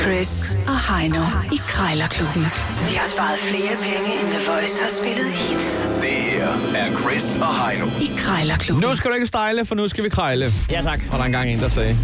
Chris og Heino i Krejlerklubben. De har sparet flere penge, end The Voice har spillet hits Det her er Chris og Heino. i Krejlerklubben. Nu skal du ikke stejle, for nu skal vi krejle. Ja, tak. Og der er engang en, der sagde,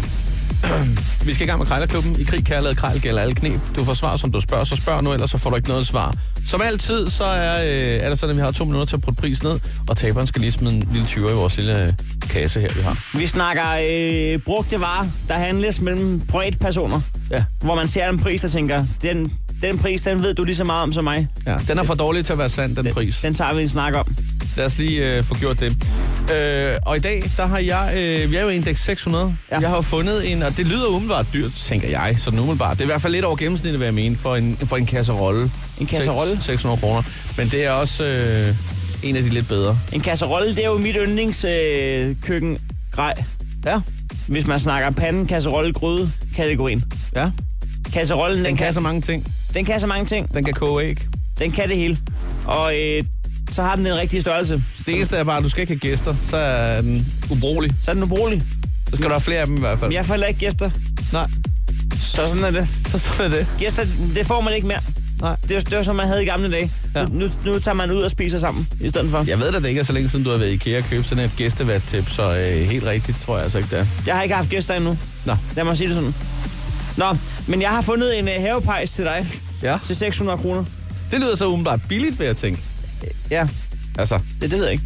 vi skal i gang med Krejlerklubben. I krig, kærlighed, krejl gælder alle knep. Du får svar, som du spørger, så spørg nu, ellers så får du ikke noget svar. Som altid, så er, øh, er det sådan, at vi har to minutter til at putte pris ned, og taberen skal lige smide en lille 20 i vores lille øh, kasse her, vi har. Vi snakker øh, brugte varer, der handles mellem privatpersoner. Ja. Hvor man ser en pris, der tænker, den, den pris, den ved du lige så meget om som mig. ja. Den er for dårlig til at være sand, den pris. Den tager vi en snak om. Lad os lige øh, få gjort det. Øh, og i dag, der har jeg, øh, vi er jo i indeks 600. Ja. Ja. Jeg har jo fundet en, og det lyder umiddelbart dyrt, tænker jeg, sådan umiddelbart. Det er i hvert fald lidt over gennemsnittet, hvad jeg mener, for en, for en kasserolle. En kasserolle? Seks- 600 kroner. Men det er også øh, en af de lidt bedre. En kasserolle, det er jo mit yndlings øh, køkkengrej. Ja. Hvis man snakker panden, kasserolle, gryde, kategorien. Ja, Kasserollen, den, den kan kan, så mange ting. den kan så mange ting. Den kan koge æg. Den kan det hele. Og øh, så har den den rigtige størrelse. Det eneste er bare, at du skal ikke have gæster, så er den ubrugelig. Så er den ubrugelig. Så skal du have flere af dem i hvert fald. Jeg får heller ikke gæster. Nej, Så sådan er det. så sådan er det. Gæster, det får man ikke mere. Nej. Det var, det var som man havde i gamle dage. Ja. Ja. Nu, nu tager man ud og spiser sammen i stedet for. Ja. Jeg ved da, det ikke er så længe siden, du har været i IKEA og købt sådan et gæstevat-tip, så øh, helt rigtigt tror jeg altså ikke, det er. Jeg har ikke haft gæster endnu. Nå, Lad mig sige det sådan. Nå, men jeg har fundet en uh, havepejs til dig. Ja. Til 600 kroner. Det lyder så umiddelbart billigt, vil jeg tænke. Ja, Altså, det, det ved jeg ikke.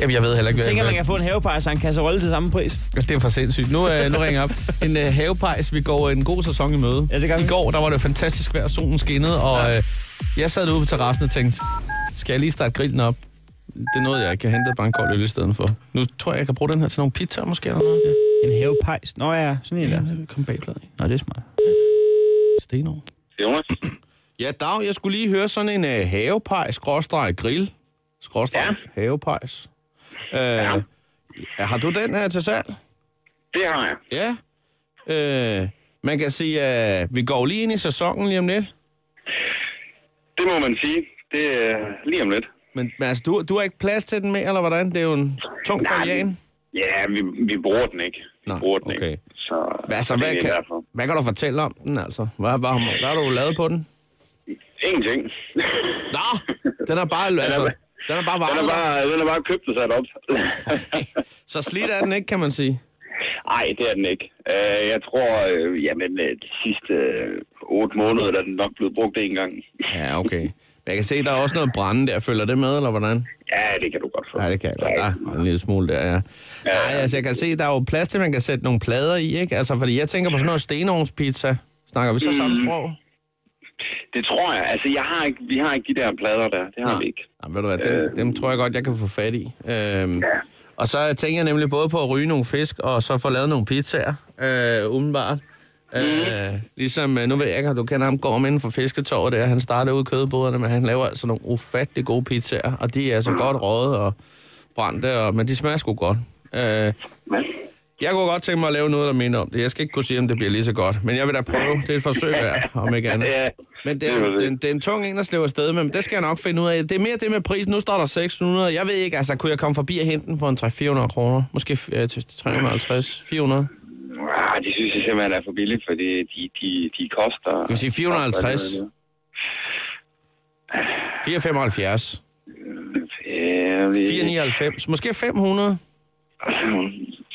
jamen, jeg ved heller ikke, Jeg hvad tænker, hvad- man kan få en havepejs og en kasserolle til samme pris. Det er for sindssygt. Nu, øh, nu ringer jeg op. En øh, havepejs, vi går en god sæson i møde. Ja, det gør vi. I går, der var det fantastisk vejr, solen skinnede, og øh, jeg sad ude på terrassen og tænkte, skal jeg lige starte grillen op? Det er noget, jeg ikke har hentet bare en kold øl i stedet for. Nu tror jeg, jeg kan bruge den her til nogle pizzaer måske eller noget. En havepejs? Nå ja, sådan en der. Ja, kom bagpladen i. Nå, det er smart. Stenovn. Jonas? Ja, Dag, jeg skulle lige høre sådan en øh, havepejs, skråstreg grill, skråstreg ja. Ja. havepejs. Øh, ja. Har du den her til salg? Det har jeg. Ja. Øh, man kan sige, at øh, vi går lige ind i sæsonen lige om lidt. Det må man sige. Det er lige om lidt. Men, men altså, du, du har ikke plads til den mere, eller hvordan? Det er jo en tung Nej, bavian. Ja, vi, vi bruger den ikke. Vi Nå, bruger den okay. ikke. Så, Hvad, altså, så det hvad, er kan, derfor. hvad kan du fortælle om den, altså? Hvad, hvad, har- hvad har du lavet på den? Ingenting. Nå, den er bare, altså, den er bare Den varmet er bare... bare, den er bare købt og sat op. Så slidt er den ikke, kan man sige. Nej, det er den ikke. Øh, Jeg tror, øh, jamen, øh, de sidste øh, otte måneder der er den nok blevet brugt en gang. Ja, okay. Men jeg kan se, der er også noget brænde der. Følger det med, eller hvordan? Ja, det kan du godt Ah. få. Ja, det kan jeg godt. Der er en lille smule der, ja. Nej, altså jeg kan se, der er jo plads til, at man kan sætte nogle plader i, ikke? Altså, fordi jeg tænker på sådan noget stenovnspizza. Snakker vi så samme sprog? Det tror jeg. Altså, jeg har ikke, vi har ikke de der plader der. Det har vi ikke. Ja, ved du hvad, dem, øh, dem tror jeg godt, jeg kan få fat i. Øhm, ja. Og så tænker jeg nemlig både på at ryge nogle fisk, og så få lavet nogle pizzaer, øh, umiddelbart. Øh, ligesom, øh, nu ved jeg ikke, om du kender ham, Gorm inden for fisketorvet der. Han starter ude i kødboderne, men han laver altså nogle ufattelig gode pizzaer. Og de er altså godt røget og brændte, og, men de smager sgu godt. Øh, Men, Jeg kunne godt tænke mig at lave noget, der minder om det. Jeg skal ikke kunne sige, om det bliver lige så godt, men jeg vil da prøve. Det er et forsøg værd, om ikke andet. Ja, Men det er, det jo- er jo det. det, er en- det er en tung en at slæve afsted med, men det skal jeg nok finde ud af. Det er mere det med prisen. Nu står der 600. Jeg ved ikke, altså kunne jeg komme forbi og hente den for en 300-400 kroner? Måske øh, til 350, 400? ah, de synes jeg simpelthen er for billigt, fordi de, de, de koster... Du vil sige 450. 475, Ja, vi- 499, måske 500,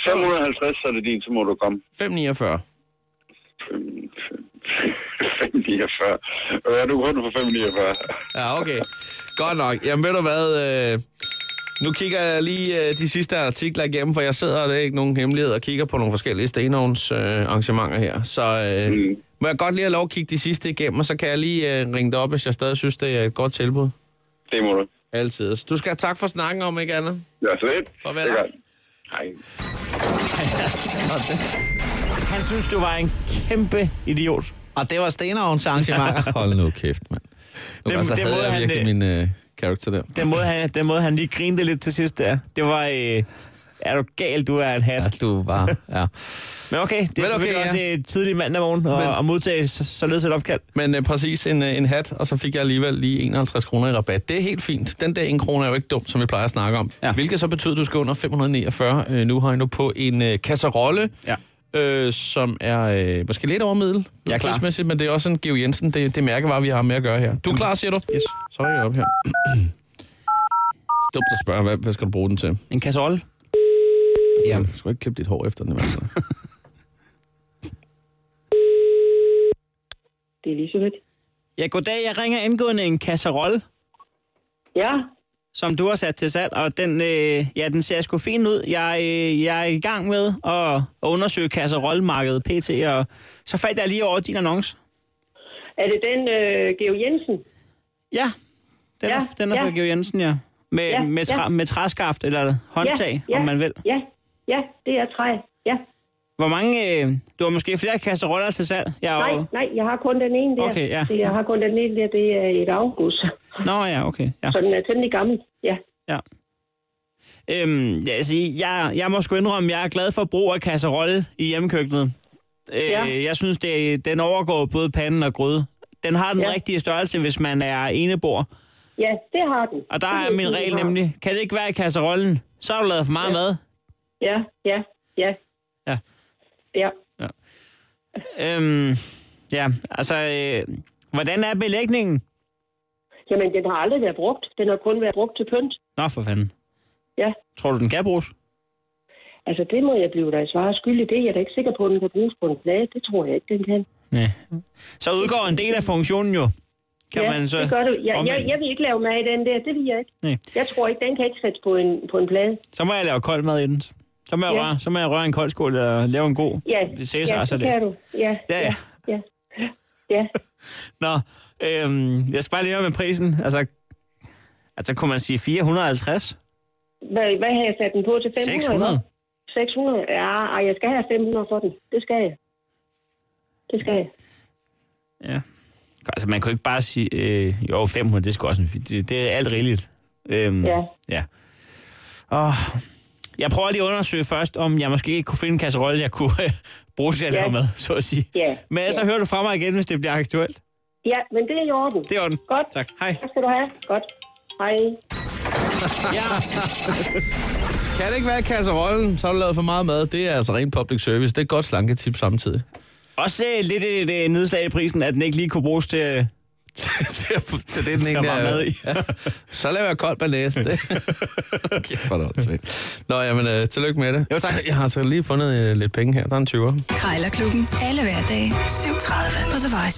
550, så er det din, så må du komme. 549. 549. Ja, du kunne for 549. Ja, okay. Godt nok. Jamen ved du hvad, øh, nu kigger jeg lige øh, de sidste artikler igennem, for jeg sidder, og det er ikke nogen hemmelighed, og kigger på nogle forskellige stenovns øh, arrangementer her. Så øh, mm. må jeg godt lige have lov at kigge de sidste igennem, og så kan jeg lige øh, ringe dig op, hvis jeg stadig synes, det er et godt tilbud. Det må du. Altid. Så Du skal have tak for snakken om, ikke andet? Ja, så lidt. Farvel. Det er godt. Hej. Han synes, du var en kæmpe idiot. Og det var stenovns arrangementer. Hold nu kæft, mand. Nu, Dem- altså, dem havde måde, jeg han, virkelig øh, min øh, character der. Den måde, han, den måde, han lige grinte lidt til sidst der. Det var... Øh, er du gal, du er en hat. Ja, du var, ja. Men Men okay, det er Men okay, selvfølgelig ja. okay, også øh, tidlig mandag morgen at, Men- at modtage så- således et opkald. Men øh, præcis en, øh, en hat, og så fik jeg alligevel lige 51 kroner i rabat. Det er helt fint. Den der 1 kroner er jo ikke dum, som vi plejer at snakke om. Ja. Ja. Hvilket så betyder, at du skal under 549 øh, nu, Heino, på en øh, kasserolle. Ja. øh, som er øh, måske lidt over middel. Jeg er klar. prismæssigt, Men det er også en Geo Jensen. Det, det mærkevarer, vi har med at gøre her. Du er klar, siger du? Yes. Så er jeg op her. Dumt at spørge, hvad, hvad skal du bruge den til? En kasserolle? Jamen. Du skal ikke klippe dit hår efter den. i hvert fald. Det er Elisabeth. Ja, goddag. Jeg ringer angående en kasserolle, Ja, som du har sat til salg, og den, øh, ja, den ser sgu fin ud. Jeg, øh, jeg er i gang med at, at undersøge kasserollemarkedet pt, og så faldt jeg lige over din annonce. er det den øh, Geo Jensen? Ja, den, ja, er, Ja, den er fra ja. Georg Jensen, ja. Med, ja, Ja, med, træ, ja. ja. med træskaft eller håndtag, ja, ja. om man vil. Ja, ja, det er træ. Ja. Hvor mange... Øh, du har måske flere kasseroller til salg? Jeg er Nej, jo- nej, jeg har kun den ene der. Okay, ja. det, jeg har kun den ene der, det er et afgus. Nå ja, okay. Ja, Så den er temmelig gammel. Ja, ja. Øhm, ja, altså, jeg, jeg må sgu indrømme, jeg er glad for brug af kasserolle i hjemmekøkkenet. Øh, Ja. Jeg synes, det, den overgår både panden og gryde. Den har den ja. Ja. rigtige størrelse, hvis man er enebor. ja det har den. Og der Det er den, min den regel har. nemlig, kan det ikke være i kasserollen, så har du lavet for meget ja. mad. Ja, ja, ja. Ja. Ja. Øhm, ja, altså, øh, hvordan er belægningen? Jamen, den har aldrig været brugt. Den har kun været brugt til pynt. Nå, for fanden. Ja, Tror du, den kan bruges? altså det må jeg blive dig svaret skyldig. Det er jeg da ikke sikker på, at den kan bruges på en plade. Det tror jeg ikke, den kan. Ja. Så udgår en del af funktionen jo. Kan ja, man så det gør du. Jeg, jeg, omvendt. jeg vil ikke lave mad i den der. Det vil jeg ikke. Nej. Jeg tror ikke, den kan ikke sættes på en, på en plade. Så må jeg lave kold mad inden. Så må jeg, Ja. røre, så må jeg røre en kold skål og lave en god Ja, Cæsar ja, det salat. kan du. Ja, Ja, ja. ja. ja. ja. Nå, øhm, jeg skal bare lige høre med prisen. Altså, altså kunne man sige 450? Hvad, hvad har jeg sat den på til 500? 600? 600? Ja, ej, jeg skal have 500 for den. Det skal jeg. Det skal jeg. Ja. Altså, man kunne ikke bare sige, øh, jo, 500, det er sgu også en fin, det, det er alt rigeligt. Øhm, Ja. ja. Og jeg prøver lige at undersøge først, om jeg måske ikke kunne finde en kasserolle, jeg kunne øh, bruge til at Ja. lave mad, så at sige. Ja, Men så ja. hører du fra mig igen, hvis det bliver aktuelt. Ja, men det er i orden. Det er orden. Godt. Tak. Hej. Tak skal du have. Godt. Hej. Ja. Kan det ikke være i kasserollen, så har du lavet for meget mad. Det er altså rent public service. Det er et godt slanketip samtidig. Også øh, lidt et, et nedslag i prisen, at den ikke lige kunne bruges til... øh, til at- Så det er den til at egentlig varme er- mad i. Så laver jeg koldt banæse. Det. Kæft, hvor er det åndssvagt. Nå, jamen, øh, tillykke med det. Jo, tak. Jeg har altså lige fundet øh, lidt penge her. Der er en 20'er. Krejlerklubben. Alle hverdage. 7.30 på The Voice.